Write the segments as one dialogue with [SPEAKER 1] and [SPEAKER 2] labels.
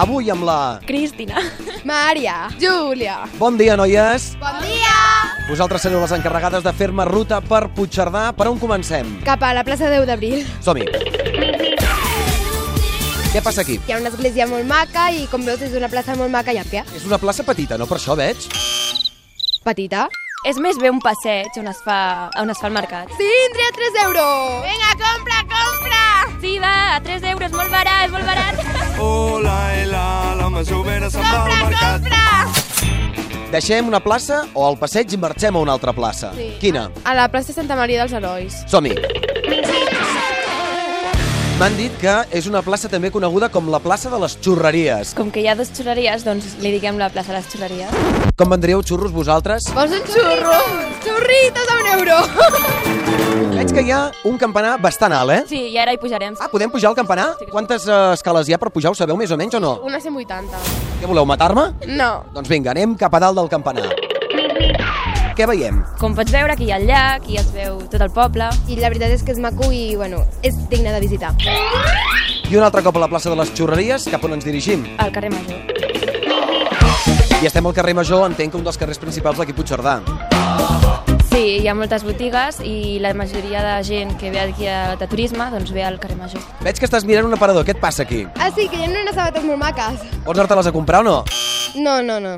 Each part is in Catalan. [SPEAKER 1] Avui amb la...
[SPEAKER 2] Cristina.
[SPEAKER 3] Maria. Júlia.
[SPEAKER 1] Bon dia, noies!
[SPEAKER 3] Bon dia!
[SPEAKER 1] Vosaltres sereu les encarregades de fer-me ruta per Puigcerdà. Per on comencem?
[SPEAKER 3] Cap a la plaça 10 d'abril.
[SPEAKER 1] Som-hi! Què passa aquí?
[SPEAKER 3] Hi ha una església molt maca i, com veus, és una plaça molt maca i àmplia.
[SPEAKER 1] És una plaça petita, no? Per això veig.
[SPEAKER 3] Petita.
[SPEAKER 2] És més bé un passeig on es fa, on es fa el mercat.
[SPEAKER 3] Síndria, 3 euros!
[SPEAKER 4] Vinga, compra, compra!
[SPEAKER 2] Sí, va, a 3 euros, molt barat, molt barat.
[SPEAKER 5] Oh, la, la, la masovera se'n va al
[SPEAKER 4] Compra,
[SPEAKER 5] mercat.
[SPEAKER 4] compra!
[SPEAKER 1] Deixem una plaça o al passeig i marxem a una altra plaça.
[SPEAKER 3] Sí.
[SPEAKER 1] Quina?
[SPEAKER 3] A la plaça Santa Maria dels Herois.
[SPEAKER 1] Som-hi! M'han dit que és una plaça també coneguda com la plaça de les xurreries.
[SPEAKER 2] Com que hi ha dues xurreries, doncs li diguem la plaça de les xurreries.
[SPEAKER 1] Com vendríeu xurros vosaltres?
[SPEAKER 3] Vols un xurro? Xurritos a un euro!
[SPEAKER 1] Veig que hi ha un campanar bastant alt, eh?
[SPEAKER 2] Sí, i ara hi pujarem.
[SPEAKER 1] Ah, podem pujar al campanar? Quantes eh, escales hi ha per pujar? Ho sabeu més o menys o no?
[SPEAKER 3] Una 180.
[SPEAKER 1] Què voleu, matar-me?
[SPEAKER 3] No.
[SPEAKER 1] Doncs vinga, anem cap a dalt del campanar. Què veiem?
[SPEAKER 2] Com pots veure, aquí hi ha el llac, aquí es veu tot el poble.
[SPEAKER 3] I la veritat és que és maco i, bueno, és digne de visitar.
[SPEAKER 1] I un altre cop a la plaça de les xurreries, cap on ens dirigim.
[SPEAKER 2] Al carrer Major.
[SPEAKER 1] I estem al carrer Major, entenc que un dels carrers principals d'aquí Puigcerdà.
[SPEAKER 2] Sí, hi ha moltes botigues i la majoria de gent que ve aquí a, de turisme doncs ve al carrer Major.
[SPEAKER 1] Veig que estàs mirant un aparador, què et passa aquí?
[SPEAKER 3] Ah, sí, que hi ha unes sabates molt maques.
[SPEAKER 1] Vols anar-te-les a comprar o no?
[SPEAKER 3] No, no, no.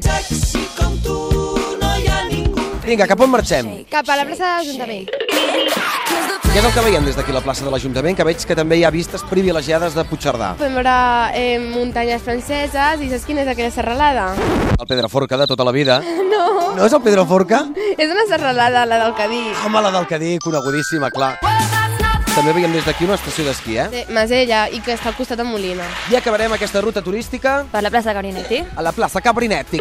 [SPEAKER 1] Vinga, cap on marxem?
[SPEAKER 3] Cap a la plaça de l'Ajuntament.
[SPEAKER 1] Què és el que veiem des d'aquí la plaça de l'Ajuntament? Que veig que també hi ha vistes privilegiades de Puigcerdà.
[SPEAKER 3] Podem veure eh, muntanyes franceses i saps quina és aquella serralada?
[SPEAKER 1] El Pedraforca de tota la vida.
[SPEAKER 3] No,
[SPEAKER 1] No és el Pedraforca?
[SPEAKER 3] és una serralada la del Cadí.
[SPEAKER 1] Home, la del Cadí, conegudíssima, clar. També veiem des d'aquí una estació d'esquí, eh?
[SPEAKER 3] De Masella i que està al costat de Molina.
[SPEAKER 1] I acabarem aquesta ruta turística
[SPEAKER 2] Per la plaça de Gabinetti.
[SPEAKER 1] a la plaça Cabrinetti.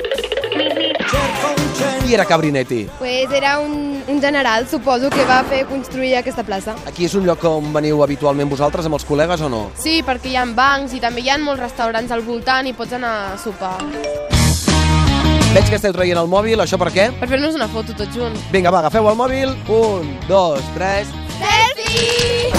[SPEAKER 1] Qui era Cabrinetti?
[SPEAKER 3] Pues era un, un general, suposo, que va fer construir aquesta plaça.
[SPEAKER 1] Aquí és un lloc on veniu habitualment vosaltres amb els col·legues o no?
[SPEAKER 3] Sí, perquè hi ha bancs i també hi ha molts restaurants al voltant i pots anar a sopar.
[SPEAKER 1] Veig que esteu traient el mòbil, això per què?
[SPEAKER 3] Per fer-nos una foto tots junts.
[SPEAKER 1] Vinga, va, agafeu el mòbil. Un, dos, tres...
[SPEAKER 3] Selfie!